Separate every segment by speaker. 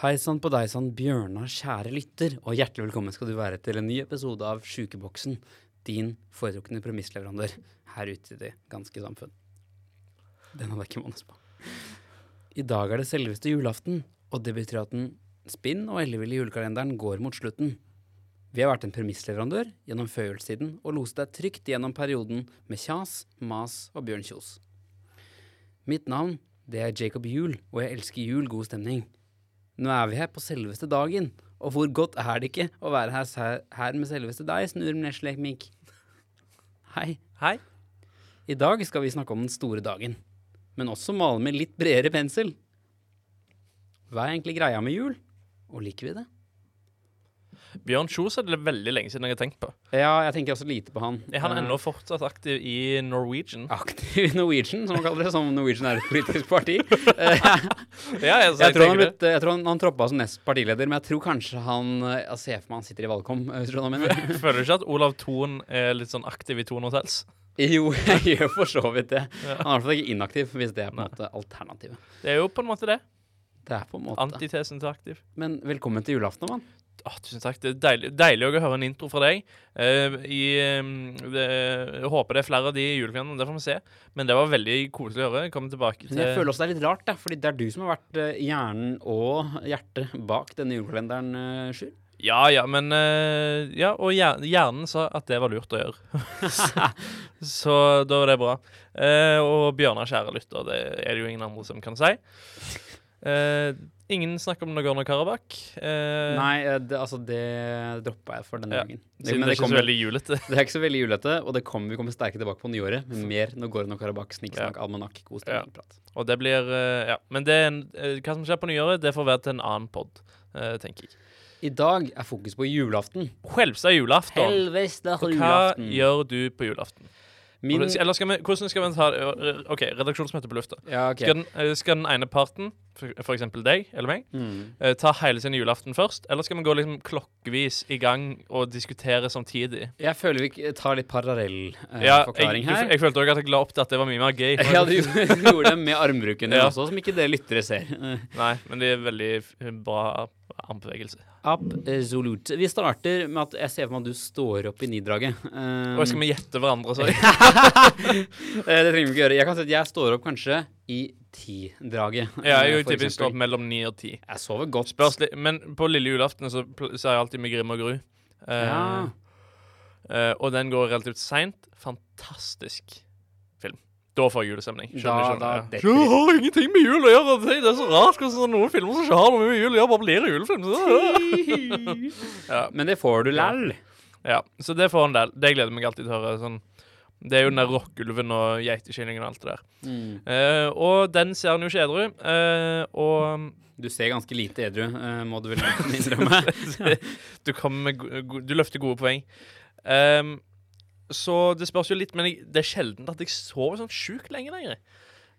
Speaker 1: Hei sann på deg sann, Bjørnar, kjære lytter, og hjertelig velkommen skal du være til en ny episode av Sjukeboksen, din foretrukne premissleverandør her ute i det ganske samfunn. Den hadde jeg ikke manus på. I dag er det selveste julaften, og det betyr at den spinn og elleville julekalenderen går mot slutten. Vi har vært en premissleverandør gjennom førjulstiden og loset deg trygt gjennom perioden med kjas, mas og Bjørn Kjos. Mitt navn det er Jacob Juel, og jeg elsker jul, god stemning. Nå er vi her på selveste dagen, og hvor godt er det ikke å være her, se- her med selveste deg, Snurm Neslek Mink? Hei.
Speaker 2: Hei.
Speaker 1: I dag skal vi snakke om den store dagen, men også male med litt bredere pensel. Hva er egentlig greia med jul, og liker vi det?
Speaker 2: Bjørn Kjos er det veldig lenge siden jeg har tenkt på.
Speaker 1: Ja, jeg tenker også lite på han.
Speaker 2: Er han
Speaker 1: Eh,
Speaker 2: ennå fortsatt aktiv i Norwegian?
Speaker 1: Aktiv i Norwegian, som han kaller det, som Norwegian er et politisk parti. Eh,
Speaker 2: Ja, altså,
Speaker 1: jeg, tror han har
Speaker 2: tenker det.
Speaker 1: blitt, jeg tror han, han troppa som nest partileder, men jeg tror kanskje han eh, Jeg ser for meg han sitter i valgkom. eh, Tror du hva jeg mener?
Speaker 2: Føler du ikke at Olav Thon er litt sånn aktiv i Thon Hotels?
Speaker 1: Jo, jeg gjør for så vidt det.
Speaker 2: Ja.
Speaker 1: Han er i hvert fall ikke inaktiv, hvis det er på en
Speaker 2: Nei.
Speaker 1: måte alternativet.
Speaker 2: Det er jo på en måte det.
Speaker 1: Det er på en måte.
Speaker 2: Antitesen til aktiv.
Speaker 1: Men velkommen til julaften, mann.
Speaker 2: Å, tusen takk. Det er deilig, deilig også å høre en intro fra deg. Eh, i, eh, det, jeg håper det er flere av de i julekalenderen. Det får vi se. Men det var veldig koselig å høre. Kom tilbake til
Speaker 1: Men jeg føler også det er litt rart, da, fordi det er du som har vært eh, hjernen og hjertet bak denne julekalenderen, eh, Sjur.
Speaker 2: Ja, ja, men eh, Ja, og hjer- hjernen sa at det var lurt å gjøre. så da var det bra. Eh, og Bjørnar, kjære lytter, det er det jo ingen andre som kan si. Eh, ingen snakker om Nagorno Karabakh. Eh,
Speaker 1: Nei, eh, det, altså, det droppa jeg for denne
Speaker 2: Ja,
Speaker 1: gangen. Det,
Speaker 2: Siden
Speaker 1: men
Speaker 2: det
Speaker 1: det,
Speaker 2: er ikke så
Speaker 1: kommer,
Speaker 2: veldig julete.
Speaker 1: det er ikke så veldig julete, og det kommer, vi kommer sterke tilbake på nyåret med mer Nagorno Karabakh, snikksnakk, almanakk, god
Speaker 2: Ja.
Speaker 1: stemningprat.
Speaker 2: Og det blir eh, Ja. Men det er en, eh, hva som skjer på nyåret, det får være til en annen pod, eh, tenker jeg.
Speaker 1: I dag er fokus på julaften.
Speaker 2: Selveste julaften.
Speaker 1: Helveste
Speaker 2: Og hva gjør du på julaften?
Speaker 1: Min,
Speaker 2: Eller skal vi, hvordan skal vi ta OK, redaksjonsmøte på lufta.
Speaker 1: ja, ok.
Speaker 2: Skal, den, eh, skal den ene parten, for, for eksempel deg eller meg,
Speaker 1: Mm.
Speaker 2: eh, ta hele sin julaften først? Eller skal vi gå liksom klokkevis i gang og diskutere samtidig?
Speaker 1: Jeg føler vi k- tar litt parallell eh,
Speaker 2: jeg,
Speaker 1: forklaring
Speaker 2: jeg,
Speaker 1: her.
Speaker 2: jeg følte òg at jeg la opp til at det var mye mer gøy.
Speaker 1: Ja, du gjorde du gjorde det med armbruken din
Speaker 2: Ja.
Speaker 1: også, som ikke dere lyttere ser. Eh,
Speaker 2: Nei, men det er veldig f- bra armbevegelse.
Speaker 1: Absolutt. Vi starter med at jeg ser for meg at du står opp i nidraget. Um, Eh,
Speaker 2: Og skal vi gjette hverandre, så?
Speaker 1: eh, det trenger vi ikke gjøre. Jeg kan si at jeg står opp kanskje i ti-draget.
Speaker 2: Ja,
Speaker 1: eh,
Speaker 2: jeg er jo
Speaker 1: for
Speaker 2: typisk
Speaker 1: eksempel.
Speaker 2: opp mellom ni og ti.
Speaker 1: Jeg sover godt.
Speaker 2: Spørs litt- Men på lille julaften så pl- så er jeg alltid med Grim og Gru. Eh,
Speaker 1: Ja.
Speaker 2: eh, og den går relativt seint. Fantastisk film. Da får jeg julestemning.
Speaker 1: Da- da
Speaker 2: Skjønner, skjønner.
Speaker 1: detter
Speaker 2: jeg. Det har ingenting med jul å gjøre! Det er så rart hvordan sånn noen filmer som ikke har noe med jul å gjøre, bare blir julefilm. Så, ja.
Speaker 1: Men det får du læll.
Speaker 2: ja, så det får en del. Det gleder jeg meg alltid til å høre. Sånn. Det er jo den der rockeulven og geitekillingen og alt det der.
Speaker 1: Mm.
Speaker 2: Eh, og den ser en jo ikke edru. eh, og
Speaker 1: Du ser ganske lite edru, eh, må du vel innrømme.
Speaker 2: du, kommer med, go- go- du løfter gode poeng. Ehm, så det spørs jo litt, men jeg, det er sjelden at jeg sover sånn sjukt lenge lenger.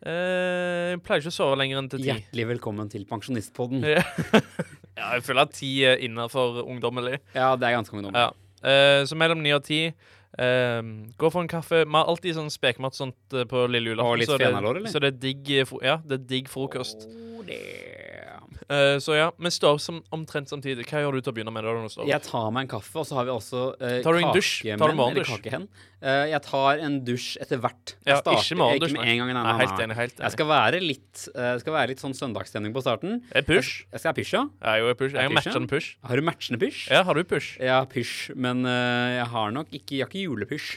Speaker 2: Eh, jeg pleier ikke å sove lenger enn til ti.
Speaker 1: Hjertelig velkommen til Pensjonistpodden.
Speaker 2: Ja, jeg føler at ti er innafor ungdommelig.
Speaker 1: Ja, det er ganske ungdommelig.
Speaker 2: Ja. Eh, så mellom ni og ti. ehm, gå for en kaffe. Vi har alltid sånn spekmat sånt eh, på lille julaften.
Speaker 1: Og litt
Speaker 2: så det-
Speaker 1: fenalår, eller?
Speaker 2: Så det er digg, eh, fro- ja, det er digg frokost.
Speaker 1: Oh, damn.
Speaker 2: Eh, så ja, vi står som, omtrent samtidig. Hva gjør du til å begynne med? da når du står?
Speaker 1: Jeg tar meg en kaffe, og så har vi også eh,
Speaker 2: Tar du en dusj? Tar du
Speaker 1: kakemenn,
Speaker 2: morgendusj?
Speaker 1: eller kakehen. Eh, jeg tar en dusj etter hvert. Jeg
Speaker 2: Ja,
Speaker 1: starter
Speaker 2: ikke morgendusj,
Speaker 1: Ikke med en gang. Nei,
Speaker 2: Nei,
Speaker 1: nei,
Speaker 2: helt
Speaker 1: nei.
Speaker 2: enig. helt enig.
Speaker 1: Jeg skal være litt, eh, skal være litt sånn søndagsstemning på starten.
Speaker 2: Er push?
Speaker 1: Jeg skal ha pysj, ja.
Speaker 2: Ja, jo, jeg push. Jeg
Speaker 1: Er
Speaker 2: har
Speaker 1: pysj, ja?
Speaker 2: matcha en push.
Speaker 1: Har du matchende pysj?
Speaker 2: Ja, har du push?
Speaker 1: Jeg har pysj, men eh, jeg har nok ikke, jeg har ikke julepysj.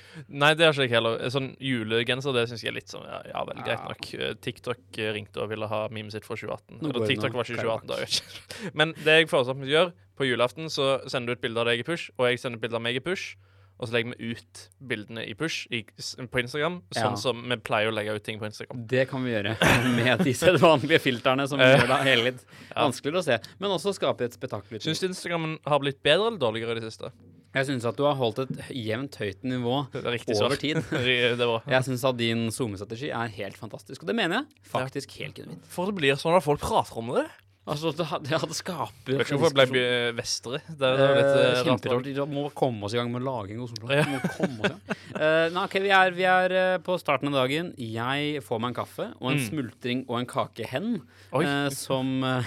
Speaker 2: Nei, det har ikke jeg heller. Sånn julegenser, det syns jeg er litt sånn Ja, ja vel, greit
Speaker 1: Ja.
Speaker 2: nok. Eh, TikTok ringte og ville ha memet sitt for 2018.
Speaker 1: Nå går
Speaker 2: Eller
Speaker 1: det
Speaker 2: TikTok
Speaker 1: nå,
Speaker 2: var ikke
Speaker 1: Karl
Speaker 2: 2018, da. jeg vet ikke. Men det jeg foreslår at vi gjør, på julaften så sender du et bilde av deg i push, og jeg sender et bilde av meg i push. Og så legger vi ut bildene i push i, s- på Instagram, sånn
Speaker 1: Ja.
Speaker 2: som vi pleier å legge ut ting på Instagram.
Speaker 1: Det kan vi gjøre med de sedvanlige filterne som
Speaker 2: Eh,
Speaker 1: gjør det hele litt vanskeligere å se. Men også skape et spetakkel. ut.
Speaker 2: Syns du Instagrammen har blitt bedre eller dårligere i det siste?
Speaker 1: Jeg syns at du har holdt et jevnt høyt nivå
Speaker 2: Det er riktig svar.
Speaker 1: over tid.
Speaker 2: det var.
Speaker 1: Jeg syns at din SoMe-strategi er helt fantastisk, og det mener jeg faktisk helt genuint.
Speaker 2: For det blir sånn at folk prater om det.
Speaker 1: Altså, det hadde, det hadde skapt
Speaker 2: Vet ikke hvorfor det ble by- Vestre. Det er det er litt eh,
Speaker 1: Eh,
Speaker 2: rart.
Speaker 1: Kjemperart. Vi må komme oss i gang med laging og sånt.
Speaker 2: Ja.
Speaker 1: Vi må komme oss i gang. Eh, nei, ok, vi er, vi er eh, på starten av dagen. Jeg får meg en kaffe og en
Speaker 2: Mm.
Speaker 1: smultring og en kakehen.
Speaker 2: Oi.
Speaker 1: eh, som eh,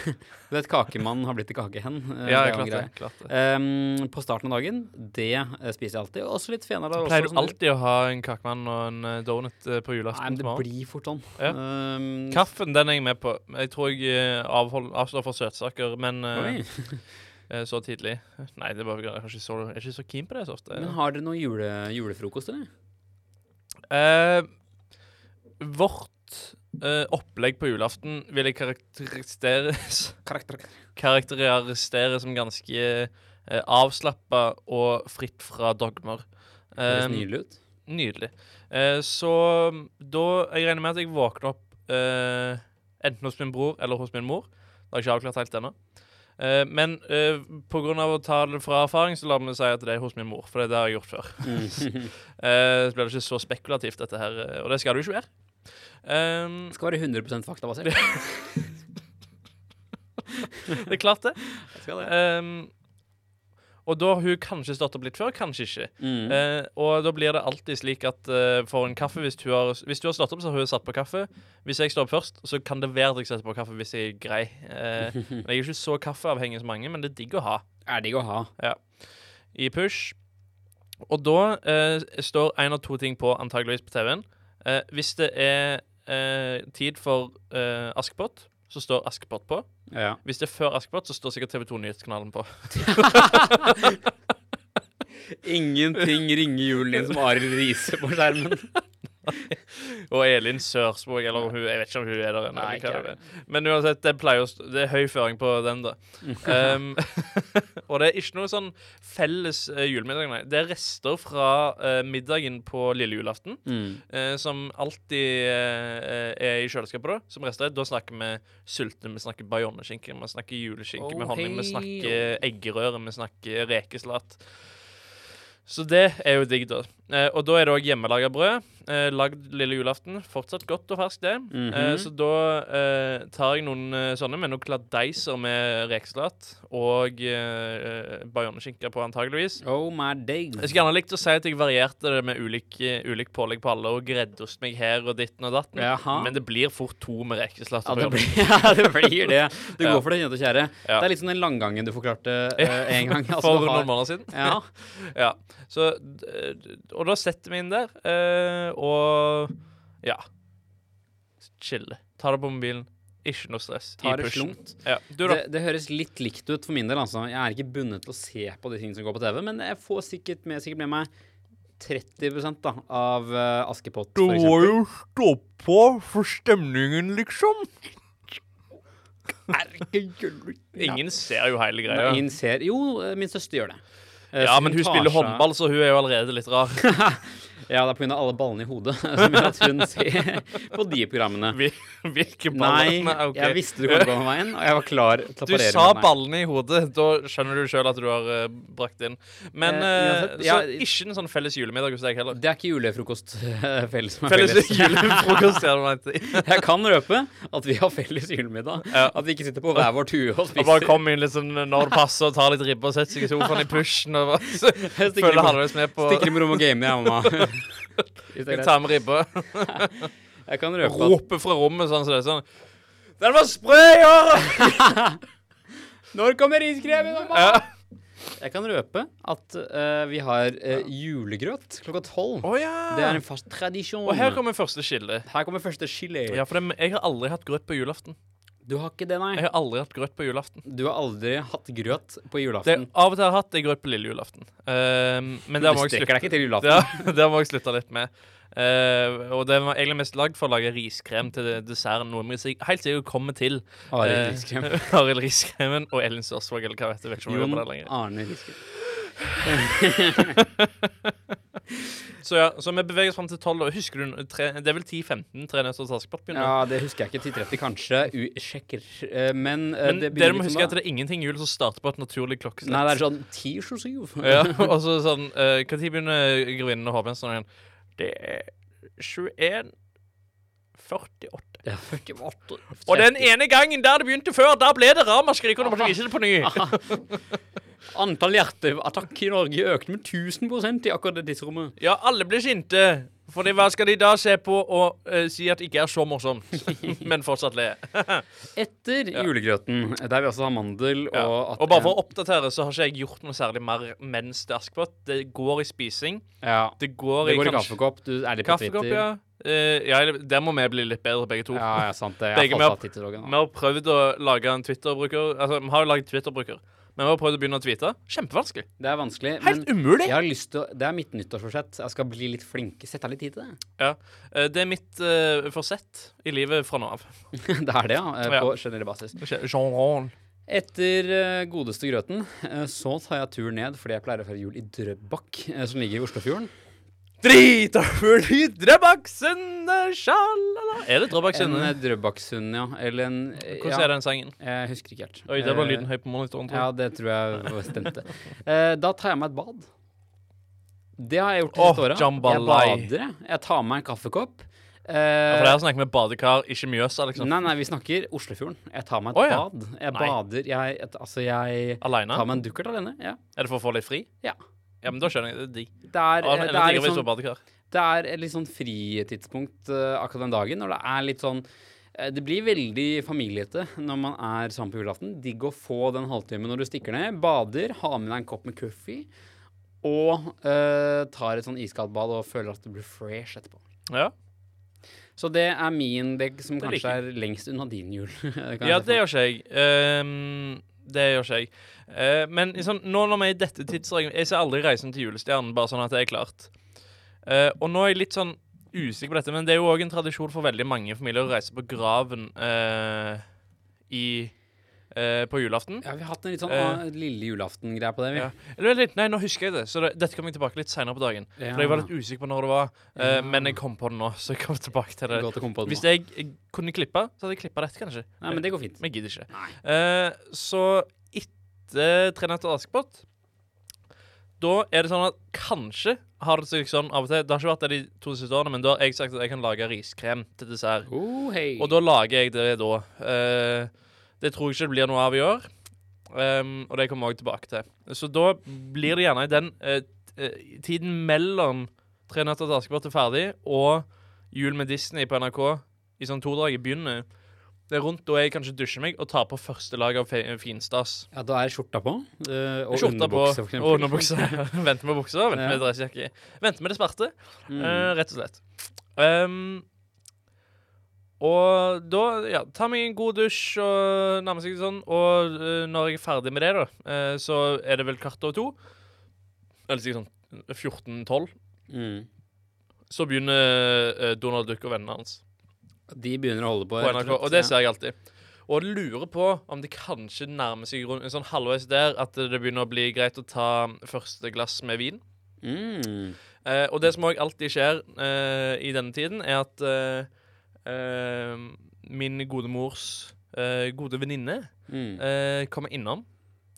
Speaker 1: Du vet, kakemann har blitt til kakehen. eh,
Speaker 2: ja,
Speaker 1: det er jo en
Speaker 2: klart det.
Speaker 1: greie.
Speaker 2: Klart det.
Speaker 1: Ehm, på starten av dagen. Det eh, spiser jeg alltid. Og også litt fenalår. også,
Speaker 2: Pleier du
Speaker 1: som
Speaker 2: alltid å ha en kakemann og en eh, donut eh, på
Speaker 1: Nei, men
Speaker 2: julaften?
Speaker 1: det
Speaker 2: til morgen?
Speaker 1: blir fort sånn.
Speaker 2: Ja.
Speaker 1: Ehm,
Speaker 2: Kaffen den er jeg med på. Jeg tror jeg eh, avhold, avstår fra søtsaker, men eh,
Speaker 1: Oi.
Speaker 2: eh, så tidlig Nei, det er bare, jeg, er ikke så, jeg er ikke så keen på det så ofte.
Speaker 1: Men har dere noe jule, julefrokost, eller?
Speaker 2: Eh, vårt eh, opplegg på julaften vil jeg karakteriseres
Speaker 1: Karakter.
Speaker 2: karakterisere som ganske eh, avslappa og fritt fra dogmer.
Speaker 1: Høres
Speaker 2: Eh,
Speaker 1: nydelig ut.
Speaker 2: nydelig. Eh, så da Jeg regner med at jeg våkner opp eh, enten hos min bror eller hos min mor. Det har jeg ikke avklart helt ennå. Eh, men eh, på grunn av å ta det fra erfaring, så la meg si at det er hos min mor. For det er det har jeg gjort før.
Speaker 1: Mm.
Speaker 2: Eh, så blir det ikke så spekulativt, dette her. eh, Og det skal det jo ikke være. Ehm,
Speaker 1: Det skal være 100 faktabasert.
Speaker 2: det er klart, det.
Speaker 1: Det skal det.
Speaker 2: Ehm, og da har hun kanskje stått opp litt før, kanskje ikke.
Speaker 1: Mm.
Speaker 2: Eh, og da blir det alltid slik at eh, for en kaffe hvis hun, har, hvis du har stått opp, så har hun satt på kaffe. Hvis jeg står opp først, så kan det være at jeg setter på kaffe hvis jeg er grei. Eh, men jeg er ikke så kaffeavhengig som mange, men det er digg å ha
Speaker 1: Er digg å ha.
Speaker 2: i push. Og da eh, står én av to ting på, antageligvis på TV-en. Eh, hvis det er eh, tid for eh, Askepott, så står Askepott på.
Speaker 1: Ja.
Speaker 2: Hvis det er før Askepott, så står sikkert TV2 Nyhetskanalen på.
Speaker 1: Ingenting ringer julen inn som Arild Riise på skjermen.
Speaker 2: Og Elin Sørsvåg, eller hun, jeg vet ikke om hun er der ennå.
Speaker 1: Nei,
Speaker 2: eller hva
Speaker 1: ikke
Speaker 2: det er. Men uansett, det, pleier å st- det er høy føring på den, da. Um, og det er ikke noe sånn felles eh, julemiddag, nei. Det er rester fra eh, middagen på lille julaften.
Speaker 1: Mm.
Speaker 2: eh, som alltid eh, er i kjøleskapet, da, som rester. Da snakker vi sulte, vi snakker bajonneskinke, vi snakker juleskinke med
Speaker 1: Oh,
Speaker 2: honning, vi
Speaker 1: hei.
Speaker 2: snakker eggerøre, vi snakker rekesalat. Så det er jo digg, da. Eh, og da er det òg hjemmelaga brød. Eh, lagd lille julaften. Fortsatt godt og ferskt, det.
Speaker 1: Mhm.
Speaker 2: eh, så da eh, tar jeg noen eh, sånne med noen kladdeiser med rekesalat og eh, eh, bajonneskinke på, antageligvis.
Speaker 1: Oh my days.
Speaker 2: Jeg skulle gjerne likt å si at jeg varierte det med ulik, ulik pålegg på alle, og greddost meg her og ditten og datten.
Speaker 1: Jaha.
Speaker 2: Men det blir fort to med rekeslatter.
Speaker 1: Ja det,
Speaker 2: på
Speaker 1: blir,
Speaker 2: jobb.
Speaker 1: ja, det blir det. Du
Speaker 2: Ja.
Speaker 1: går for det kjente og kjære.
Speaker 2: Ja.
Speaker 1: Det er litt som den langgangen du forklarte eh, en gang. Altså,
Speaker 2: For
Speaker 1: du har-
Speaker 2: noen måneder siden.
Speaker 1: Ja.
Speaker 2: Ja. Så, d- d- og da setter vi inn der, eh, og ja. Chille. Ta det på mobilen. Ikke noe stress.
Speaker 1: Ta det
Speaker 2: pushen.
Speaker 1: slungt.
Speaker 2: Ja. Du, da?
Speaker 1: Det, det høres litt likt ut for min del. Altså. Jeg er ikke bundet til å se på de tingene som går på TV, men jeg får sikkert med, sikkert med meg 30 da, av eh, Askepott. for eksempel.
Speaker 2: jo stå på for stemningen, liksom. Ingen ser jo hele
Speaker 1: Ja.
Speaker 2: greia.
Speaker 1: Ingen ser Jo, eh, min søster gjør det. Eh,
Speaker 2: Ja,
Speaker 1: så
Speaker 2: men hun
Speaker 1: tar
Speaker 2: spiller
Speaker 1: seg-
Speaker 2: håndball, så hun er jo allerede litt rar.
Speaker 1: Ja, det er pga. alle ballene i hodet som gjør at hun ser på de programmene.
Speaker 2: Hvil- Hvilke baller?
Speaker 1: Nei,
Speaker 2: Nei, ok.
Speaker 1: jeg visste du kom til å gå den veien, og jeg var klar til å
Speaker 2: Du
Speaker 1: parere.
Speaker 2: sa
Speaker 1: med deg.
Speaker 2: ballene i hodet. Da skjønner du sjøl at du har eh, brakt inn. Men
Speaker 1: Eh,
Speaker 2: eh,
Speaker 1: uansett, ja,
Speaker 2: så ikke en sånn felles julemiddag hos deg heller.
Speaker 1: Det er ikke julefrokost eh, felles som er
Speaker 2: Felles
Speaker 1: felles.
Speaker 2: julefrokost, er det man heter.
Speaker 1: Jeg kan røpe at vi har felles julemiddag.
Speaker 2: Ja.
Speaker 1: At vi ikke sitter på hver vår tue og
Speaker 2: Og bare
Speaker 1: spiser.
Speaker 2: kom inn litt sånn når det passer, og tar litt ribbe og setter seg i sofaen i pushen og bare- så
Speaker 1: Jeg stikker
Speaker 2: føler
Speaker 1: inn på-
Speaker 2: halvveis med på
Speaker 1: Stikker inn på rommet og gamer, jeg, mamma. Hvis det er
Speaker 2: Jeg
Speaker 1: greit.
Speaker 2: tar med ribbe.
Speaker 1: Jeg kan røpe at
Speaker 2: Roper fra rommet sånn som det er sånn Den var sprø i år!
Speaker 1: Når kommer riskremen, mamma?
Speaker 2: Ja.
Speaker 1: Jeg kan røpe at eh, vi har eh, julegrøt klokka tolv.
Speaker 2: Å ja.
Speaker 1: Det er en fast tradisjon.
Speaker 2: Og her kommer første skille.
Speaker 1: Her kommer første chili.
Speaker 2: Ja, for det, jeg har aldri hatt grøt på julaften.
Speaker 1: Du har ikke det, nei.
Speaker 2: Jeg har aldri hatt grøt på julaften.
Speaker 1: Du har aldri hatt grøt på
Speaker 2: Det
Speaker 1: julaften.
Speaker 2: jeg av og til har hatt, det er grøt på lille julaften. Ehm, men det
Speaker 1: du
Speaker 2: må jeg
Speaker 1: strekker
Speaker 2: slutte
Speaker 1: deg ikke til julaften.
Speaker 2: det, det må jeg slutte litt med. Eh, og det var egentlig mest lagd for å lage riskrem til desserten. Noe vi sik- helt sikkert kommer til.
Speaker 1: Arild
Speaker 2: Eh,
Speaker 1: Riskrem.
Speaker 2: Arild Riskremen og Elin Sørsvåg, eller hva vet jeg. Vet ikke om hun
Speaker 1: Jon
Speaker 2: jobber der lenger.
Speaker 1: Arne Riskrem.
Speaker 2: Så ja, så vi beveger oss fram til 12, og husker du n- tre, Det er vel 10-15 Tre Nøtter til Askepott begynner?
Speaker 1: Ja, det husker jeg ikke. 10.30 kanskje. U sjekker. Eh, Men, eh,
Speaker 2: Men det,
Speaker 1: det
Speaker 2: dere
Speaker 1: begynner
Speaker 2: må
Speaker 1: litt
Speaker 2: huske
Speaker 1: sånn
Speaker 2: at det er ingenting jul som starter på et naturlig klokkeslett.
Speaker 1: Nei, det er sånn ti sju syv.
Speaker 2: Ja, og så sånn eh, Sånn Hva tid begynner grevinnen og hovmesteren igjen? Det er 21 48.
Speaker 1: Ja, 48.
Speaker 2: Og den ene gangen der det begynte før, da ble det ramaskrik, og nå måtte vi vise det på ny.
Speaker 1: Antall hjerteattakk i Norge økte med 1000 i akkurat det tidsrommet.
Speaker 2: Ja, alle ble sinte. Fordi hva skal de da se på og eh, si at ikke er så morsomt, men fortsatt le?
Speaker 1: Etter julegrøten, der vi også har mandel og
Speaker 2: Ja.
Speaker 1: at
Speaker 2: Og bare for
Speaker 1: en-
Speaker 2: å oppdatere, så har ikke jeg gjort noe særlig mer mens det er Askepott. Det går i spising.
Speaker 1: ja.
Speaker 2: Det går
Speaker 1: Det går
Speaker 2: i
Speaker 1: i
Speaker 2: kanskje-
Speaker 1: kaffekopp. Du er litt på Twitter.
Speaker 2: kaffekopp, ja. Eh, ja. eller- Der må vi bli litt bedre, begge to.
Speaker 1: Ja, ja, sant det. Jeg
Speaker 2: Begge
Speaker 1: har
Speaker 2: med
Speaker 1: falt av
Speaker 2: Vi
Speaker 1: tittelloggen. nå.
Speaker 2: har prøvd å lage en Twitter-bruker. Altså, vi har jo laget Twitter-bruker, men vi har prøvd å begynne å tweete. Kjempevanskelig.
Speaker 1: Det er vanskelig. Men
Speaker 2: Helt umulig!
Speaker 1: jeg har lyst til å, det er mitt nyttårsforsett. Jeg skal bli litt flink. Sett av litt tid til det.
Speaker 2: Eh, det er mitt eh, forsett i livet fra nå av.
Speaker 1: det er det, ja. eh,
Speaker 2: Ja.
Speaker 1: På generell basis.
Speaker 2: Jean-Ron.
Speaker 1: Etter eh, godeste grøten eh, så tar jeg tur ned, fordi jeg pleier å feire jul i Drøbak, eh, som ligger i Oslofjorden.
Speaker 2: Drita fordi Drøbaksundet, sjalala Er det
Speaker 1: En eh,
Speaker 2: Drøbaksundet?
Speaker 1: Drøbaksund, ja. Eller en eh,
Speaker 2: Hvordan
Speaker 1: ja,
Speaker 2: er den sangen?
Speaker 1: Jeg husker ikke helt.
Speaker 2: Oi, der var
Speaker 1: Eh,
Speaker 2: lyden høy på monitoren, tror jeg.
Speaker 1: Ja, det tror jeg var- stemte. Eh, da tar jeg meg et bad. Det har jeg gjort de
Speaker 2: Åh,
Speaker 1: siste åra. Jeg
Speaker 2: jambalaya.
Speaker 1: bader, jeg. Jeg tar meg en kaffekopp.
Speaker 2: Ja,
Speaker 1: Eh,
Speaker 2: for det sånn her snakker vi badekar, ikke Mjøsa, liksom.
Speaker 1: Nei, nei, vi snakker Oslofjorden. Jeg tar meg et
Speaker 2: Å, ja.
Speaker 1: bad. Jeg
Speaker 2: Nei.
Speaker 1: bader. Jeg, et, altså, jeg
Speaker 2: Aleine?
Speaker 1: tar meg en dukkert alene. Ja.
Speaker 2: Er det for å få litt fri?
Speaker 1: Ja.
Speaker 2: Ja, men da skjønner jeg. Det er digg.
Speaker 1: Det er,
Speaker 2: Eller
Speaker 1: eh, det
Speaker 2: digger
Speaker 1: er,
Speaker 2: hvis
Speaker 1: litt
Speaker 2: du er
Speaker 1: sånn,
Speaker 2: badekar.
Speaker 1: det er et litt sånn fritidspunkt eh, akkurat den dagen, når det er litt sånn eh, det blir veldig familiete når man er sammen på julaften. Digg å få den halvtimen når du stikker ned. Bader, har med deg en kopp med kaffe og eh, tar et sånn iskaldt bad og føler at du blir fresh etterpå.
Speaker 2: Ja.
Speaker 1: Så det er min deg som
Speaker 2: Det
Speaker 1: kanskje
Speaker 2: liker
Speaker 1: er lengst unna din jul. kan jeg
Speaker 2: ja,
Speaker 1: se for meg.
Speaker 2: det gjør ikke jeg. Ehm, det gjør ikke jeg. Eh, men liksom, nå når vi er i dette tidsregelen Jeg ser aldri Reisen til julestjernen, bare sånn at det er klart. Eh, og nå er jeg litt sånn usikker på dette, men det er jo òg en tradisjon for veldig mange familier å reise på graven eh, i eh, på julaften.
Speaker 1: Ja, vi har hatt en litt sånn ah,
Speaker 2: Eh.
Speaker 1: lille julaften-greie på det. vi.
Speaker 2: Ja. Eller vent litt, nei, nå husker jeg det, så det, dette kommer jeg tilbake litt seinere på dagen. For jeg var litt usikker på når det var, eh,
Speaker 1: Ja.
Speaker 2: men jeg kom på det nå. Så jeg kom tilbake til det.
Speaker 1: Godt å komme på det
Speaker 2: Hvis
Speaker 1: nå.
Speaker 2: jeg, jeg kunne klippa, så hadde jeg klippa rett, kanskje.
Speaker 1: Nei, men det går fint.
Speaker 2: Men jeg gidder ikke.
Speaker 1: Nei.
Speaker 2: Eh, så etter Tre netter Askepott Da er det sånn at kanskje har det seg sånn av og til Det har ikke vært det de to siste årene, men da har jeg sagt at jeg kan lage riskrem til dessert.
Speaker 1: Oh, hei.
Speaker 2: Og da lager jeg det da. Eh, det tror jeg ikke det blir noe av i år. Ehm, og det kommer jeg også tilbake til. Så da blir det gjerne i den eh, t- eh, tiden mellom Tre nøtter til Askepott er ferdig, og Jul med Disney på NRK i sånn todraget begynner. Det er rundt da jeg kanskje dusjer meg og tar på første lag av fe- finstas.
Speaker 1: ja, da er skjorta på. eh, og
Speaker 2: Skjorta på,
Speaker 1: underbuksa, for
Speaker 2: og
Speaker 1: eksempel.
Speaker 2: underbukse. Venter med buksa, venter med dressjakke. Venter med det smerte,
Speaker 1: Mm.
Speaker 2: eh, rett og slett. Ehm, og da ja, ta meg en god dusj og nærme seg sånn. Og eh, når jeg er ferdig med det, da, eh, så er det vel kvart over to. Eller si sånn 14-12.
Speaker 1: Mm.
Speaker 2: Så begynner eh, Donald Duck og vennene hans
Speaker 1: De begynner å holde på.
Speaker 2: på
Speaker 1: rett
Speaker 2: NRK,
Speaker 1: slett,
Speaker 2: og det
Speaker 1: ja.
Speaker 2: ser jeg alltid. Og lurer på om det kanskje nærmer seg rundt, sånn halvveis der at det begynner å bli greit å ta første glass med vin.
Speaker 1: Mm.
Speaker 2: Eh, og det som òg alltid skjer eh, i denne tiden, er at eh, eh, min gode mors eh, gode venninne
Speaker 1: Mm.
Speaker 2: eh, kommer innom.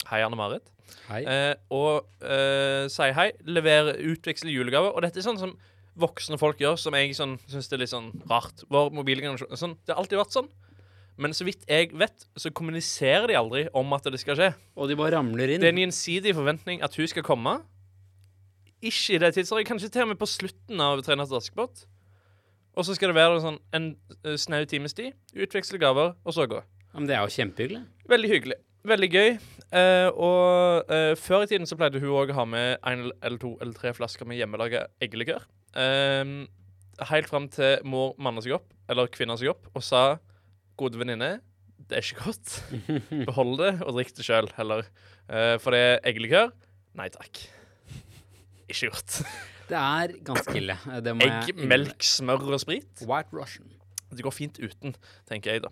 Speaker 2: Hei, Anne Marit.
Speaker 1: Hei.
Speaker 2: Eh, og eh, sier hei, leverer, utveksler julegaver. Og dette er sånn som voksne folk gjør, som jeg sånn, syns er litt sånn rart. Vår mobilgenerasjon sånn, Det har alltid vært sånn. Men så vidt jeg vet, så kommuniserer de aldri om at det skal skje.
Speaker 1: Og de bare ramler inn.
Speaker 2: Det er en gjensidig forventning at hun skal komme. Ikke i det tidsåret. Kanskje til og med på slutten av Tre natter til Askepott. Og så skal det være sånn en eh, snau times tid, utveksle gaver, og så gå.
Speaker 1: Ja, men det er jo kjempehyggelig.
Speaker 2: Veldig hyggelig. Veldig gøy. Eh, og eh, før i tiden så pleide hun òg å ha med én eller to eller tre flasker med hjemmelaga eggelikør. Eh, helt fram til mor manna seg opp, eller kvinna seg opp, og sa 'Gode venninne, det er ikke godt. Behold det, og drikk det sjøl, heller. Eh, for det er eggelikør. Nei takk. Ikke gjort.
Speaker 1: Det er ganske ille. eh, Det må jeg
Speaker 2: Egg,
Speaker 1: innrømme.
Speaker 2: melk, smør og sprit.
Speaker 1: White Russian.
Speaker 2: Det går fint uten, tenker jeg da.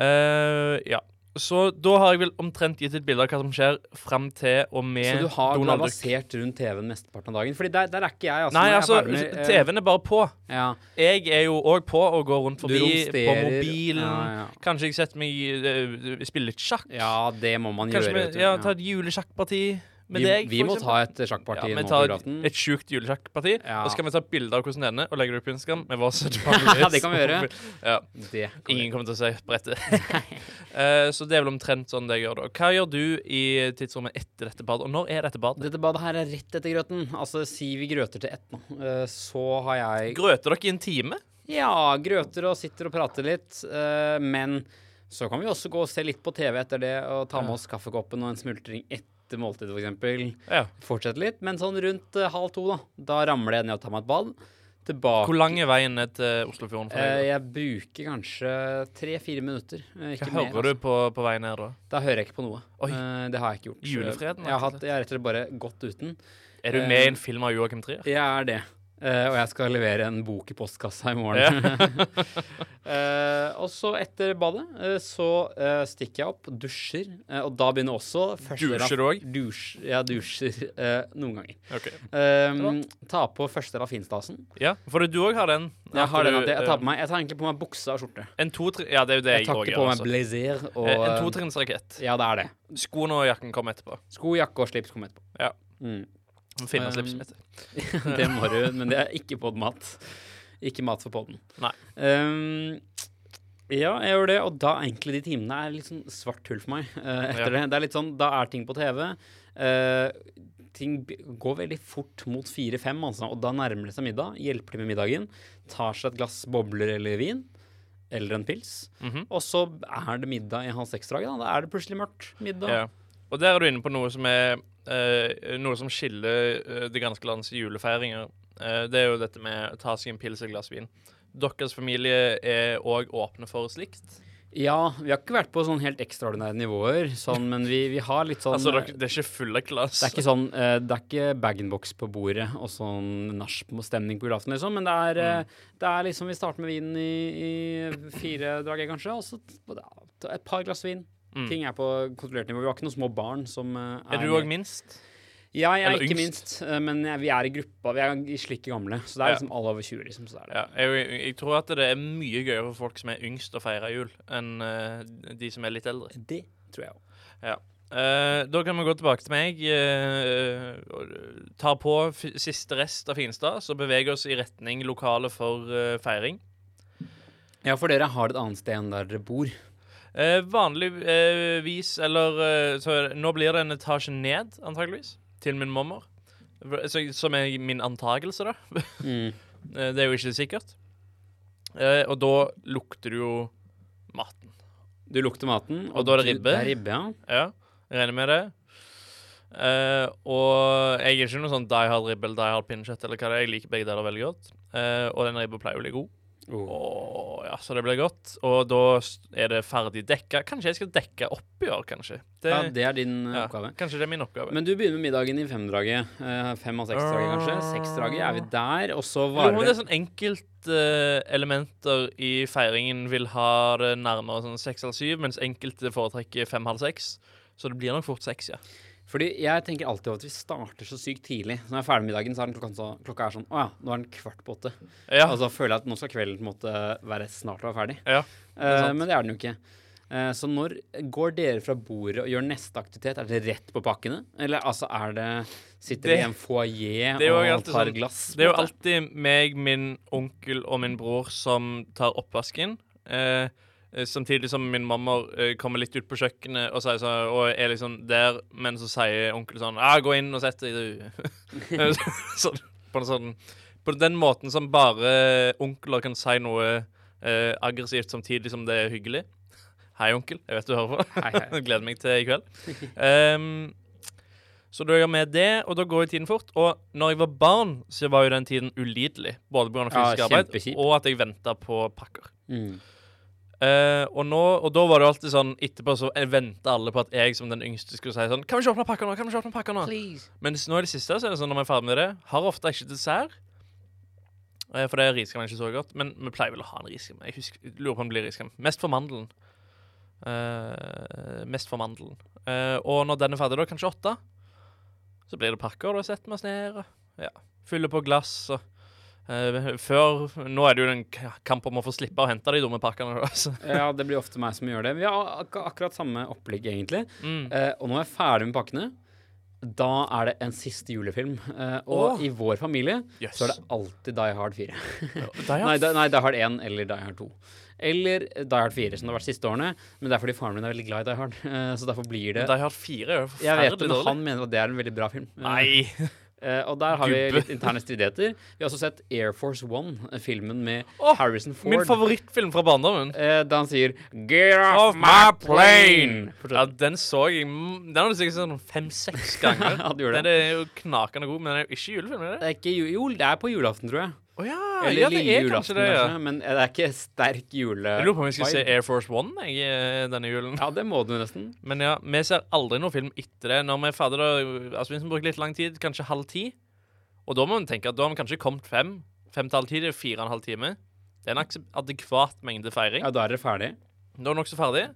Speaker 2: Eh, ja. Så da har jeg vel omtrent gitt et bilde av hva som skjer fram til og med
Speaker 1: Så du har, du har
Speaker 2: Donald Duck.
Speaker 1: basert rundt TV-en mesteparten av dagen? Fordi der, der er ikke jeg. Altså,
Speaker 2: Nei,
Speaker 1: Når jeg
Speaker 2: altså,
Speaker 1: varmer, eh,
Speaker 2: TV-en er bare på.
Speaker 1: Ja,
Speaker 2: Jeg er jo òg på og går rundt
Speaker 1: Du
Speaker 2: forbi på
Speaker 1: romsterer.
Speaker 2: mobilen.
Speaker 1: Ja, ja.
Speaker 2: Kanskje jeg setter meg i- eh, Spiller litt sjakk.
Speaker 1: ja, det må man
Speaker 2: Kanskje
Speaker 1: gjøre.
Speaker 2: vi,
Speaker 1: vet du.
Speaker 2: ja, ta et julesjakkparti. med
Speaker 1: vi,
Speaker 2: deg,
Speaker 1: vi
Speaker 2: for
Speaker 1: må
Speaker 2: eksempel.
Speaker 1: ta et sjakkparti
Speaker 2: ja,
Speaker 1: nå
Speaker 2: vi
Speaker 1: på
Speaker 2: tar et,
Speaker 1: julaften.
Speaker 2: et sjukt julesjakkparti,
Speaker 1: Ja.
Speaker 2: og så kan vi ta bilde av hvordan det ender, og legge det opp på Instagram med vår
Speaker 1: Ja, det kan vi gjøre.
Speaker 2: Ja.
Speaker 1: Det kan vi.
Speaker 2: Ingen kommer til å se brettet. Eh, så det er vel omtrent sånn det jeg gjør da. Hva gjør du i tidsrommet etter dette badet, og når er dette badet?
Speaker 1: Dette badet her er rett etter grøten. Altså, si vi grøter til ett nå. Eh, Så har jeg
Speaker 2: Grøter dere i en time?
Speaker 1: Ja, grøter og sitter og prater litt. eh, men så kan vi også gå og se litt på TV etter det, og ta med oss kaffekoppen og en smultring etter måltidet, f.eks.
Speaker 2: Ja.
Speaker 1: Fortsette litt. Men sånn rundt eh, halv to, da. Da ramler jeg ned og tar meg et bad. Tilbake.
Speaker 2: Hvor lang er veien ned til Oslofjorden for
Speaker 1: Eh,
Speaker 2: deg?
Speaker 1: jeg bruker kanskje tre-fire minutter. eh,
Speaker 2: da?
Speaker 1: Ikke
Speaker 2: Hva
Speaker 1: mer.
Speaker 2: hører
Speaker 1: altså.
Speaker 2: du på, på vei ned da?
Speaker 1: Da hører jeg ikke på noe.
Speaker 2: Oi.
Speaker 1: Eh, det har jeg ikke gjort. Jeg har,
Speaker 2: Julefreden, rett og
Speaker 1: hatt, jeg har rett og slett bare gått uten.
Speaker 2: Er du
Speaker 1: Eh,
Speaker 2: med i en film av Joakim Trier?
Speaker 1: Jeg er det. Eh, og jeg skal levere en bok i postkassa i morgen. Eh, og så etter badet eh, så eh, stikker jeg opp, dusjer, eh, og da begynner også første
Speaker 2: Dusjer
Speaker 1: raf-
Speaker 2: også?
Speaker 1: Dusj, ja, dusjer eh, noen ganger.
Speaker 2: Ok.
Speaker 1: Eh, ta på første raffinstasen.
Speaker 2: Ja, for du òg har den.
Speaker 1: Jeg har den at jeg, jeg tar
Speaker 2: med
Speaker 1: på meg Jeg tar egentlig på meg bukse og skjorte.
Speaker 2: En totri... Ja, det er jo det
Speaker 1: Jeg
Speaker 2: jeg
Speaker 1: tar
Speaker 2: òg
Speaker 1: ikke
Speaker 2: gjør.
Speaker 1: på meg
Speaker 2: Altså.
Speaker 1: blazer og
Speaker 2: Eh, En
Speaker 1: eh,
Speaker 2: totrinnsrakett.
Speaker 1: Ja, det er det.
Speaker 2: Skoene og jakken kommer etterpå.
Speaker 1: Sko, jakke og slips kommer etterpå.
Speaker 2: Ja.
Speaker 1: Mm.
Speaker 2: Finne
Speaker 1: Um,
Speaker 2: slipset mitt.
Speaker 1: det må du, men det er ikke podmat. Ikke mat for podden.
Speaker 2: Nei.
Speaker 1: Ehm, ja, jeg gjør det, og da er egentlig de timene er litt sånn svart hull for meg eh, etter
Speaker 2: Ja.
Speaker 1: det. Det er litt sånn, Da er ting på TV. eh, ting b- går veldig fort mot fire-fem, altså, og da nærmer det seg middag. Hjelper de med middagen. Tar seg et glass bobler eller vin. Eller en pils.
Speaker 2: Mhm.
Speaker 1: Og så er det middag i halv seks-draget. Da. da er det plutselig mørkt. Middag.
Speaker 2: Ja. Og der er du inne på noe som er eh, Noe som skiller eh, det ganske lands julefeiringer. Eh, det er jo dette med å ta seg en pils og et glass vin. Deres familie er òg åpne for slikt.
Speaker 1: Ja, vi har ikke vært på sånn helt ekstraordinære nivåer, sånn, men vi, vi har litt sånn
Speaker 2: Altså, dere, det er ikke fulle glass.
Speaker 1: Det er ikke sånn, eh, det er ikke bag-in-box på bordet og sånn nachstemning på julaften, liksom. Men det er,
Speaker 2: Mm.
Speaker 1: eh, det er liksom Vi starter med vinen i, i fire drager, kanskje, og så t- t- et par glass vin.
Speaker 2: Mm.
Speaker 1: Ting er på kontrollert nivå. Vi har ikke noen små barn som eh,
Speaker 2: Er du òg minst?
Speaker 1: Ja, jeg er
Speaker 2: eller
Speaker 1: ikke
Speaker 2: yngst?
Speaker 1: minst, eh, men jeg, vi er i gruppa. Vi er i slikke gamle, så det er
Speaker 2: Ja.
Speaker 1: liksom alle over 20, liksom. Så det er det.
Speaker 2: Ja, jeg, jeg, jeg tror at det er mye gøyere for folk som er yngst å feire jul, enn eh, de som er litt eldre.
Speaker 1: Det tror jeg òg.
Speaker 2: Eh, da kan vi gå tilbake til meg. eh, og tar på f siste rest av Finstad, så beveger oss i retning lokalet for eh, feiring.
Speaker 1: Ja, for dere har et annet sted enn der dere bor.
Speaker 2: Eh, vanligvis, eller eh, så er det- Nå blir det en etasje ned, antageligvis, til min mormor. V- så- Som er min antagelse, da. Eh, det er jo ikke sikkert. Eh, og da lukter det jo maten.
Speaker 1: Du lukter maten.
Speaker 2: Og da er det
Speaker 1: du-
Speaker 2: ribbe.
Speaker 1: Det er ribbe, ja.
Speaker 2: Ja, jeg regner med det. Eh, og jeg er ikke noen sånn die hard ribbe eller die hard pinnekjøtt. eller hva det er. Jeg liker begge deler veldig godt. Eh, og den ribba pleier å bli god.
Speaker 1: Oh.
Speaker 2: Åh, ja, Så det blir godt. Og da s- er det ferdig dekka. Kanskje jeg skal dekke opp i år, kanskje. Det,
Speaker 1: ja, det er din eh,
Speaker 2: ja,
Speaker 1: oppgave.
Speaker 2: Kanskje det er min oppgave.
Speaker 1: Men du begynner med middagen i femdraget. Eh, fem av seksdraget, kanskje.
Speaker 2: Ah.
Speaker 1: Seksdraget er vi der, og så
Speaker 2: Lurer på om
Speaker 1: varer det
Speaker 2: det er sånn enkeltelementer eh, i feiringen vil ha det nærmere sånn seks eller syv, mens enkelte foretrekker fem halv seks. Så det blir nok fort seks, ja.
Speaker 1: Fordi jeg tenker alltid over at vi starter så sykt tidlig. Så når jeg er ferdig med middagen, så er den klokka, så, klokka er sånn Å ja, nå er den kvart på åtte.
Speaker 2: ja.
Speaker 1: Altså føler jeg at nå skal kvelden på en måte være snart å være ferdig.
Speaker 2: Ah. Ja,
Speaker 1: Eh,
Speaker 2: sant.
Speaker 1: men det er den jo ikke. Eh, så når går dere fra bordet og gjør neste aktivitet? Er det rett på pakkene? Eller altså er det Sitter
Speaker 2: Det-
Speaker 1: vi i en foajé
Speaker 2: det er jo
Speaker 1: og
Speaker 2: alltid
Speaker 1: tar
Speaker 2: sånn-
Speaker 1: glass?
Speaker 2: Det er jo
Speaker 1: på en måte?
Speaker 2: alltid meg, min onkel og min bror som tar oppvasken. Eh, eh, samtidig som min mamma eh, kommer litt ut på kjøkkenet og, sier sånn, og er liksom der, men så sier onkel sånn Ja, gå inn og sett deg, du. Eh, sånn, på, en sånn, på den måten som bare onkler kan si noe eh, aggressivt samtidig som det er hyggelig. Hei, onkel. Jeg vet du hører på.
Speaker 1: Hei, hei.
Speaker 2: Jeg gleder meg til i kveld. Ehm, så da gjør vi det, og da går jo tiden fort. Og når jeg var barn, så var jo den tiden ulidelig. Både pga. fysisk
Speaker 1: Ja,
Speaker 2: arbeid
Speaker 1: kjempekjipt.
Speaker 2: og at jeg venta på pakker.
Speaker 1: Mm.
Speaker 2: Eh, og, nå, og da var det jo alltid sånn etterpå så venta alle på at jeg som den yngste skulle si sånn Kan vi ikke åpne pakker nå? Kan vi ikke åpne pakker nå? Mens nå i det siste så er det sånn når vi er ferdig med det, har ofte ikke dessert. Eh, for det er riskam ikke så godt. Men vi pleier vel å ha en riskam. Jeg husker, jeg lurer på om det blir riskam. Mest for mandelen. Eh, mest for mandelen. Eh, og når den er ferdig, da, kanskje åtte, så blir det pakker. og Da setter vi oss ned og ja, fyller på glass. og eh, før Nå er det jo en k- kamp om å få slippe å hente de dumme pakkene. Da, så.
Speaker 1: Ja, det blir ofte meg som gjør det. Vi har ak akkurat samme opplegg, egentlig.
Speaker 2: Mm.
Speaker 1: Eh, og nå er jeg ferdig med pakkene. Da er det en siste julefilm. eh, og
Speaker 2: Åh.
Speaker 1: i vår familie
Speaker 2: Jøss.
Speaker 1: så er det alltid Die Hard 4.
Speaker 2: Da, ja.
Speaker 1: Nei, da, nei, Die Hard 1 eller Die Hard 2. Eller Die Hard 4, som det har vært siste årene. Men det er fordi faren min er veldig glad i Die Hard. eh, så derfor blir det
Speaker 2: Die Hard 4 er jo
Speaker 1: Jeg vet det,
Speaker 2: forferdelig
Speaker 1: men
Speaker 2: dårlig.
Speaker 1: han mener at det er en veldig bra film. Eh,
Speaker 2: Nei!
Speaker 1: eh, og der har vi
Speaker 2: Gubbe.
Speaker 1: litt interne stridigheter. Vi har også sett Air Force One, eh, filmen med
Speaker 2: Åh,
Speaker 1: Harrison Ford.
Speaker 2: Min favorittfilm fra barndommen.
Speaker 1: eh, da han sier Get off my plane!
Speaker 2: Ja, den så jeg mm, Den har du sikkert sett sånn fem-seks ganger.
Speaker 1: Ja, du gjør
Speaker 2: Den er jo knakende god, men den er jo ikke julefilm, er det?
Speaker 1: Det er ikke ju- jo, det er på julaften, tror jeg.
Speaker 2: Å ja,
Speaker 1: Eller
Speaker 2: ja, det
Speaker 1: lille
Speaker 2: er
Speaker 1: julaften,
Speaker 2: kanskje det. Ja.
Speaker 1: kanskje, men eh, det er ikke sterk jule...
Speaker 2: Jeg lurer på om vi skal se
Speaker 1: vibe.
Speaker 2: Air Force One jeg, eh, denne julen.
Speaker 1: Ja, det må du nesten.
Speaker 2: Men ja, vi ser aldri noen film etter det. Når vi er ferdig, da Altså, vi som bruker litt lang tid, kanskje halv ti. Og da må vi tenke at da har vi kanskje kommet fem. Fem til halv ti, det er fire og en halv time. Det er en aksep- adekvat mengde feiring.
Speaker 1: Ja, da er dere ferdig.
Speaker 2: Da er vi nokså ferdig.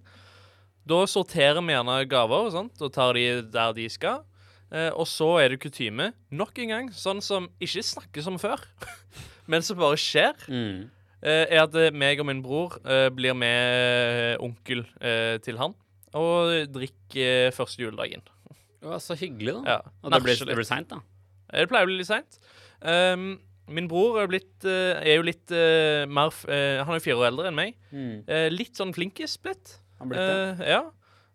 Speaker 2: Da sorterer vi gjerne gaver og sånt, og tar de der de skal. Eh, og så er det kutyme, nok en gang, sånn som ikke snakkes om før, men som bare skjer.
Speaker 1: Mm.
Speaker 2: eh, er at eh, meg og min bror eh, blir med onkel eh, til han og drikker eh, første juledagen.
Speaker 1: Det var så hyggelig, da.
Speaker 2: Ja,
Speaker 1: Og det ble,
Speaker 2: nachspiel
Speaker 1: det
Speaker 2: litt.
Speaker 1: ble seint, da.
Speaker 2: Eh, Det pleier å bli litt seint. Ehm, min bror er, jo blitt, eh, er jo litt eh, mer f- eh, Han er jo fire år eldre enn meg. Eh, litt sånn flinkis blitt.
Speaker 1: Mm. Han ble det.
Speaker 2: Eh, ja.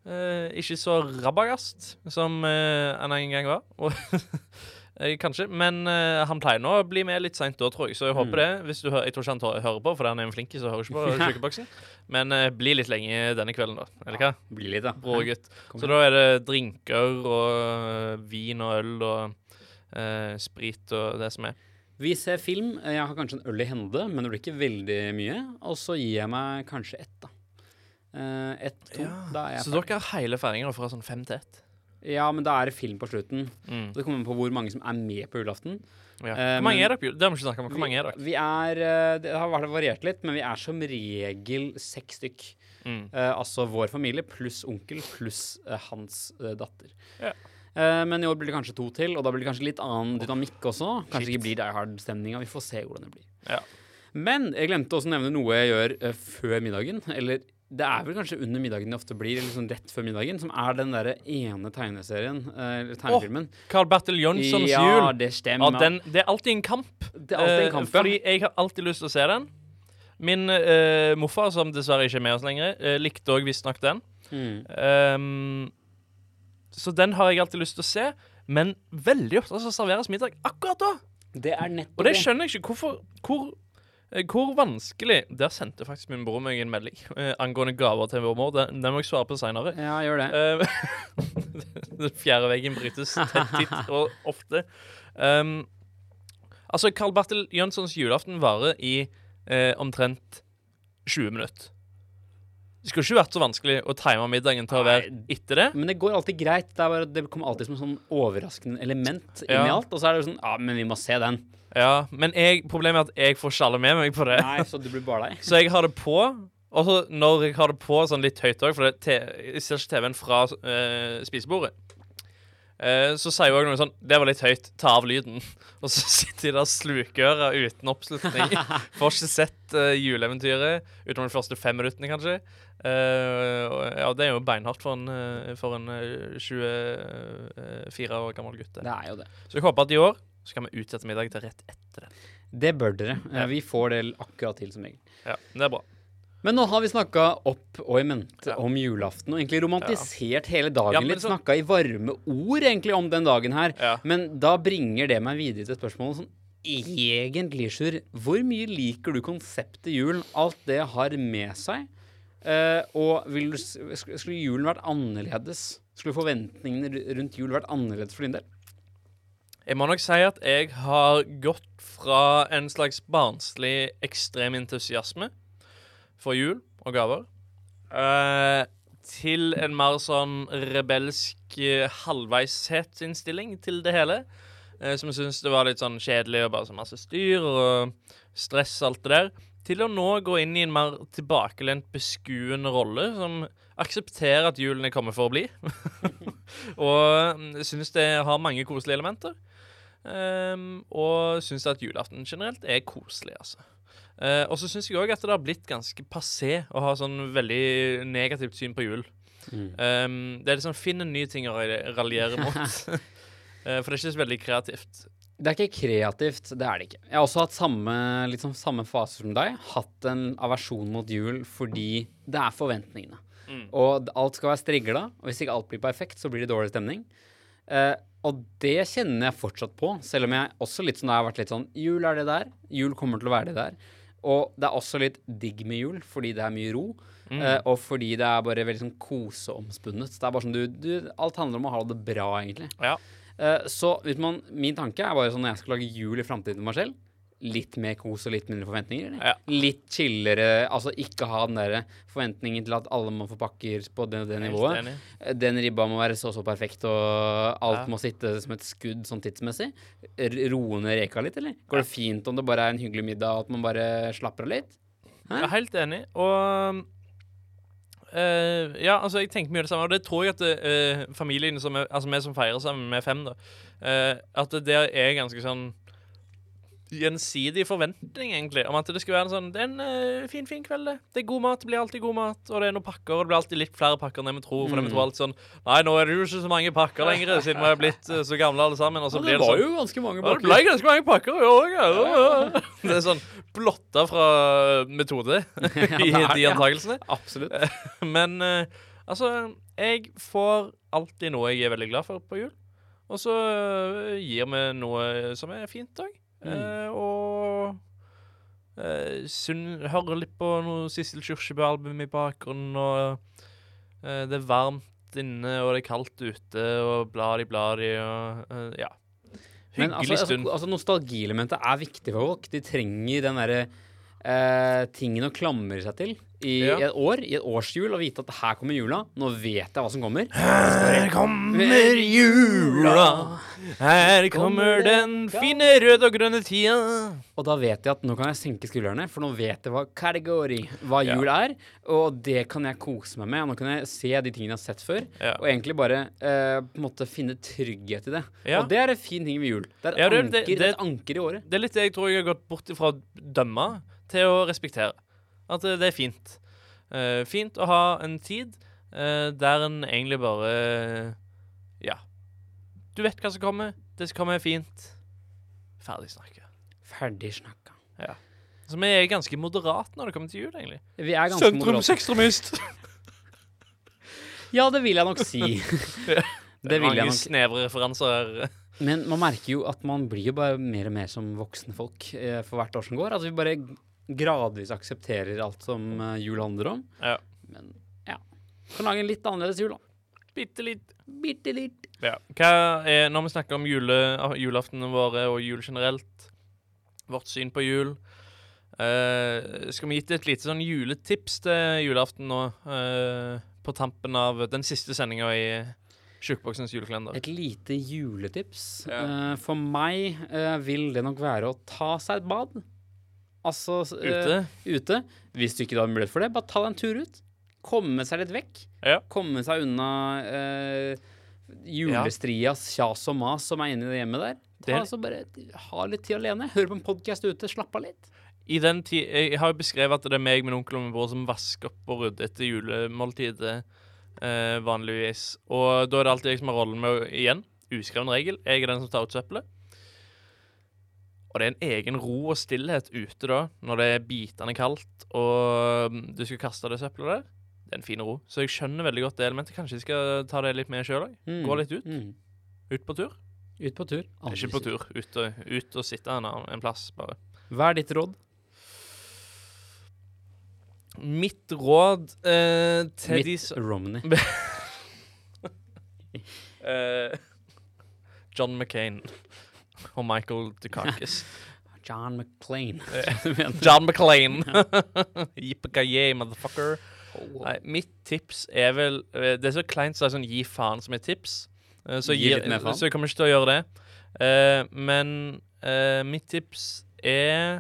Speaker 2: Eh, ikke så rabagast som eh, han en gang var. Og eh, Kanskje, men eh, han pleier nå å bli med litt seint da, tror jeg. Så jeg
Speaker 1: Mm.
Speaker 2: håper det. Hvis du hører, jeg tror ikke han tå- hører på, fordi han er en flinkis og hører ikke på sjukeboksen. Men eh, bli litt lenge denne kvelden, da. Eller hva?
Speaker 1: Blir litt, da.
Speaker 2: Bror gutt.
Speaker 1: Kom
Speaker 2: Så da er det drinker og eh, vin og øl og eh, sprit og det som er.
Speaker 1: Vi ser film. Jeg har kanskje en øl i hende, men det blir ikke veldig mye. Og så gir jeg meg kanskje ett, da. Eh, ett, to. Da er jeg
Speaker 2: Så
Speaker 1: ferdig.
Speaker 2: dere har hele feiringa fra sånn fem til ett?
Speaker 1: Ja, men da er det film på slutten.
Speaker 2: Mm.
Speaker 1: Og det kommer an på hvor mange som er med på julaften.
Speaker 2: Ja.
Speaker 1: Eh,
Speaker 2: Hvor mange
Speaker 1: men-
Speaker 2: er dere? på jul- Det har vi ikke snakket om. Hvor mange er dere?
Speaker 1: Vi er eh, Det har vært- variert litt, men vi er som regel seks stykk.
Speaker 2: Mm.
Speaker 1: Eh, altså vår familie pluss onkel pluss eh, hans eh, datter.
Speaker 2: Ja.
Speaker 1: Eh, men i år blir det kanskje to til, og da blir det kanskje litt annen dynamikk også. Kanskje ikke blir Die Hard-stemninga. Vi får se hvordan det blir.
Speaker 2: Ja.
Speaker 1: Men jeg glemte også å nevne noe jeg gjør eh, før middagen. Eller det er vel kanskje under middagen det ofte blir, eller sånn rett før middagen, som er den derre ene tegneserien, eh, eller tegnefilmen.
Speaker 2: Carl Bertil Jonssons
Speaker 1: ja,
Speaker 2: jul.
Speaker 1: det
Speaker 2: Ja,
Speaker 1: stemmer.
Speaker 2: den, det er alltid en kamp.
Speaker 1: det er alltid en kamp,
Speaker 2: Eh,
Speaker 1: ja.
Speaker 2: Fordi jeg har alltid lyst til å se den. Min eh, morfar, som dessverre ikke er med oss lenger, eh, likte òg visstnok den.
Speaker 1: Mm.
Speaker 2: Ehm, så den har jeg alltid lyst til å se, men veldig ofte så serveres middag akkurat da.
Speaker 1: Det er nettopp
Speaker 2: Og det skjønner jeg ikke. Hvorfor, hvor, eh, hvor vanskelig Der sendte faktisk min bror meg en melding eh, angående gaver til vår mor. Den, den må jeg svare på seinere.
Speaker 1: Ja, gjør det.
Speaker 2: Eh, Den fjerde veggen brytes tett titt og ofte. Um, altså, Carl Bertil Jønssons julaften varer i eh, omtrent 20 minutter. Det skulle ikke vært så vanskelig å time middagen til å være etter det.
Speaker 1: Men det går alltid greit. Det, er bare, det kommer alltid som et sånn overraskende element inn i
Speaker 2: Ja.
Speaker 1: alt. Og så er det jo sånn Ja, men vi må se den.
Speaker 2: Ja, Men jeg, problemet er at jeg får ikke alle med meg på det.
Speaker 1: Nei, så det blir bare deg.
Speaker 2: Så jeg har det på. Og så når jeg har det på sånn litt høyt òg, for det, er te- jeg ser ikke TV-en fra eh, spisebordet, eh, så sier jeg òg noe sånn Det var litt høyt. Ta av lyden. Og så sitter de der slukøra uten oppslutning. Får ikke sett eh, juleeventyret utenom de første fem minuttene, kanskje. Eh, og- ja, det er jo beinhardt for en, eh, for en eh, 24 år gammel gutt. det.
Speaker 1: Det er jo det.
Speaker 2: Så jeg håper at i år så kan vi utsette middag til rett etter den.
Speaker 1: Det bør dere. Eh,
Speaker 2: Ja.
Speaker 1: Vi får det akkurat til som regel.
Speaker 2: Ja, det er bra.
Speaker 1: Men nå har vi snakka opp og i mente
Speaker 2: Ja.
Speaker 1: om julaften, og egentlig romantisert hele dagen
Speaker 2: Ja, men
Speaker 1: litt.
Speaker 2: så-
Speaker 1: Snakka i varme ord egentlig om den dagen her.
Speaker 2: Ja.
Speaker 1: Men da bringer det meg videre til spørsmålet sånn Egentlig, Sjur, hvor mye liker du konseptet jul, alt det har med seg? Eh, og vil du, s- sk- skulle julen vært annerledes? Skulle forventningene ru- rundt jul vært annerledes for din del?
Speaker 2: Jeg må nok si at jeg har gått fra en slags barnslig ekstrem entusiasme for jul og gaver, eh, til en mer sånn rebelsk eh, halvveishetsinnstilling til det hele. eh, Som syntes det var litt sånn kjedelig og bare så masse styr og stress og alt det der. Til å nå gå inn i en mer tilbakelent, beskuende rolle som aksepterer at julen er kommet for å bli. og mm, syns det har mange koselige elementer. Ehm, og syns at julaften generelt er koselig, altså. Eh, og så syns jeg òg at det har blitt ganske passé å ha sånn veldig negativt syn på jul.
Speaker 1: Mm.
Speaker 2: sånn Ehm, det er liksom finn en ny ting å ra- raljere mot. Eh, For det er ikke så veldig kreativt.
Speaker 1: Det er ikke kreativt, det er det ikke. Jeg har også hatt samme, liksom, samme fase som deg. Hatt en aversjon mot jul fordi det er forventningene.
Speaker 2: Mm.
Speaker 1: Og d- alt skal være strigla, og hvis ikke alt blir perfekt, så blir det dårlig stemning. Eh, og det kjenner jeg fortsatt på, selv om jeg også litt sånn, det har vært litt sånn Jul er det der. Jul kommer til å være det der. Og det er også litt digg med jul, fordi det er mye ro. eh, og fordi det er bare veldig sånn koseomspunnet. Det er bare sånn, du, du, alt handler om å ha det bra, egentlig.
Speaker 2: Ja.
Speaker 1: Eh, Så hvis man, min tanke er bare sånn når jeg skal lage jul i framtiden for meg selv Litt mer kos og litt mindre forventninger. eller?
Speaker 2: Ja.
Speaker 1: Litt chillere. Altså ikke ha den der forventningen til at alle må få pakker på det, det
Speaker 2: Helt
Speaker 1: nivået.
Speaker 2: enig.
Speaker 1: Den ribba må være så så perfekt, og alt
Speaker 2: Ja.
Speaker 1: må sitte som et skudd sånn tidsmessig. R- Roe ned reka litt, eller? Går det fint om det bare er en hyggelig middag, og at man bare slapper av litt?
Speaker 2: Jeg er helt enig. Og eh, Ja, altså, jeg tenker mye det samme. Og det tror jeg at eh, familien som er, Altså, vi som feirer sammen, vi er fem, da, eh, at det der er ganske sånn Gjensidig forventning, egentlig. Om at det skal være en sånn Det er en eh, fin, fin kveld, det. Det er god mat. Det blir alltid god mat. Og det er noen pakker, og det blir alltid litt flere pakker enn det vi tror. For
Speaker 1: Mm.
Speaker 2: det vi tror alltid sånn Nei, nå er det jo ikke så mange pakker lenger, siden vi er blitt eh, så gamle alle sammen. Og så
Speaker 1: Ja,
Speaker 2: blir
Speaker 1: det
Speaker 2: det sånn
Speaker 1: var jo ganske mange
Speaker 2: ja, det
Speaker 1: bakker.
Speaker 2: ble ganske mange pakker i år. Ja. Ja. Det er sånn blotta fra eh, metode i
Speaker 1: Ja, det er
Speaker 2: de
Speaker 1: det, ja.
Speaker 2: antakelsene.
Speaker 1: Absolutt.
Speaker 2: Men eh, altså, jeg får alltid noe jeg er veldig glad for på jul. Og så eh, gir vi noe som er fint òg.
Speaker 1: Mm.
Speaker 2: Eh, og eh, sunn, hører litt på noe Sissel Kyrkjebø-album i bakgrunnen, og eh, det er varmt inne, og det er kaldt ute, og bladi-bladi, og eh, ja.
Speaker 1: Men
Speaker 2: Hyggelig
Speaker 1: altså,
Speaker 2: stund.
Speaker 1: Altså, altså Nostalgielementet er viktig for folk. De trenger den derre eh, tingen å klamre seg til i
Speaker 2: Ja.
Speaker 1: et år, i et årshjul, og vite at her kommer jula. Nå vet jeg hva som kommer.
Speaker 2: Her kommer jula, her kommer den fine røde og grønne tida.
Speaker 1: Og da vet jeg at nå kan jeg senke skuldrene, for nå vet jeg hva category, hva
Speaker 2: Ja.
Speaker 1: jul er. Og det kan jeg kose meg med. Og nå kan jeg se de tingene jeg har sett før.
Speaker 2: Ja.
Speaker 1: Og egentlig bare eh, på en måte finne trygghet i det.
Speaker 2: Ja.
Speaker 1: Og det er en fin ting med jul. Det er et
Speaker 2: Ja, det-
Speaker 1: anker,
Speaker 2: det-
Speaker 1: det, er
Speaker 2: det-
Speaker 1: et anker i året.
Speaker 2: Det er litt det jeg tror jeg har gått bort ifra å dømme til å respektere. At eh, det er fint. Eh, fint å ha en tid eh, der en egentlig bare Ja. Du vet hva som kommer. Det som kommer, er fint. Ferdig snakka.
Speaker 1: Ferdig snakka.
Speaker 2: Så vi er ganske moderate når det kommer til jul, egentlig.
Speaker 1: Vi er ganske moderate.
Speaker 2: sekstremist.
Speaker 1: Ja, det vil jeg nok si. det vil jeg
Speaker 2: Mange
Speaker 1: nok
Speaker 2: snevre referanser.
Speaker 1: Men man merker jo at man blir jo bare mer og mer som voksne folk eh, for hvert år som går. At vi bare gradvis aksepterer alt som eh, jul handler om.
Speaker 2: Ja.
Speaker 1: Men ja. Kan lage en litt annerledes jul, da.
Speaker 2: Bitte litt
Speaker 1: Bitte litt.
Speaker 2: Ja. Hva er, når vi snakker om jule, julaftenene våre og jul generelt, vårt syn på jul eh, Skal vi gi et lite sånn juletips til julaften nå, eh, på tampen av den siste sendinga i Tjukkboksens julekalender?
Speaker 1: Et lite juletips.
Speaker 2: Ja.
Speaker 1: Eh, for meg eh, vil det nok være å ta seg et bad. Altså s- eh,
Speaker 2: Ute?
Speaker 1: ute. Hvis du ikke har mulighet for det, bare ta deg en tur ut. Komme seg litt vekk.
Speaker 2: Ja.
Speaker 1: Komme seg unna eh, julestrias kjas og mas som er inni det hjemmet der. Ta,
Speaker 2: Det-
Speaker 1: altså, bare Ha litt tid alene. Hør på en podkast ute. Slapp av litt.
Speaker 2: I den ti jeg har jo beskrevet at det er meg, min onkel og min bror som vasker opp og rydder etter julemåltidet eh, vanligvis. Og da er det alltid jeg som har rollen med å igjen. Uskreven regel. Jeg er den som tar ut søppelet. Og det er en egen ro og stillhet ute da, når det er bitende kaldt og mm, du skal kaste det søppelet der. Det er en fin ro. Så jeg skjønner veldig godt det elementet. Kanskje jeg skal ta det litt med sjøl òg.
Speaker 1: Mm.
Speaker 2: Gå litt ut.
Speaker 1: Mm.
Speaker 2: Ut på tur.
Speaker 1: Ut på tur.
Speaker 2: Ikke på tur. Ut og, ut og sitte en, annen- en plass, bare.
Speaker 1: Hva er ditt råd?
Speaker 2: Mitt råd eh, til de
Speaker 1: Mitt
Speaker 2: som
Speaker 1: Romney.
Speaker 2: eh, John McCain og Michael Dukakis.
Speaker 1: John McClain.
Speaker 2: John McClain! Yippee-ki-yay, motherfucker.
Speaker 1: Oh,
Speaker 2: Nei, mitt tips er vel eh, Det er så kleint så det er sånn gi faen som et tips. Eh, Så,
Speaker 1: Gi
Speaker 2: jeg
Speaker 1: litt mer
Speaker 2: gir,
Speaker 1: faen.
Speaker 2: så jeg kommer ikke til å gjøre det. Eh, men eh, mitt tips er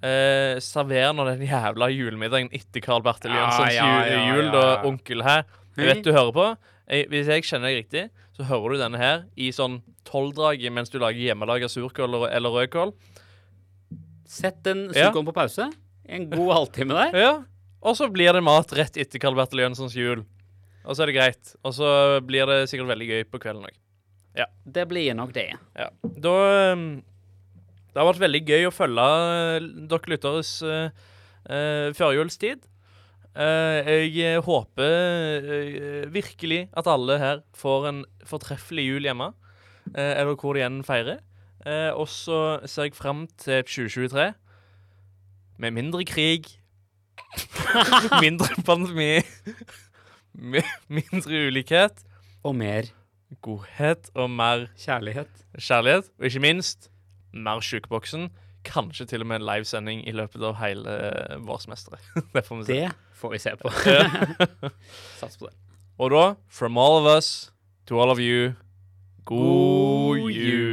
Speaker 2: uh, Server nå den jævla julemiddagen etter Carl Bertil
Speaker 1: Ja,
Speaker 2: Jensens
Speaker 1: ja,
Speaker 2: ju-
Speaker 1: ja,
Speaker 2: jul,
Speaker 1: ja,
Speaker 2: da
Speaker 1: ja.
Speaker 2: onkel her. Jeg vet du hører på. Jeg, hvis jeg kjenner deg riktig, så hører du denne her i sånn tolvdraget mens du lager hjemmelaga surkål eller- eller rødkål.
Speaker 1: Sett den
Speaker 2: Ja.
Speaker 1: sykdommen på pause. En god halvtime der.
Speaker 2: Ja. Og så blir det mat rett etter Carl Bertil Jønssons jul. Og så er det greit. Og så blir det sikkert veldig gøy på kvelden òg. Ja.
Speaker 1: Det blir nok det.
Speaker 2: Ja. Da ehm, Det har vært veldig gøy å følge eh, dere lytteres eh, eh, førjulstid. Eh, jeg håper eh, virkelig at alle her får en fortreffelig jul hjemme, eh, eller hvor de enn feirer. Eh, og så ser jeg fram til 2023 med mindre krig, mindre pandemi, mi- mindre ulikhet,
Speaker 1: Og mer
Speaker 2: godhet og mer
Speaker 1: kjærlighet.
Speaker 2: kjærlighet, og ikke minst mer Sjukeboksen. Kanskje til og med en livesending i løpet av hele eh, vårsmesteret. det får vi se.
Speaker 1: Det får vi se på. Sats på det.
Speaker 2: Og da, from all of us to all of you, god,
Speaker 1: God
Speaker 2: jul.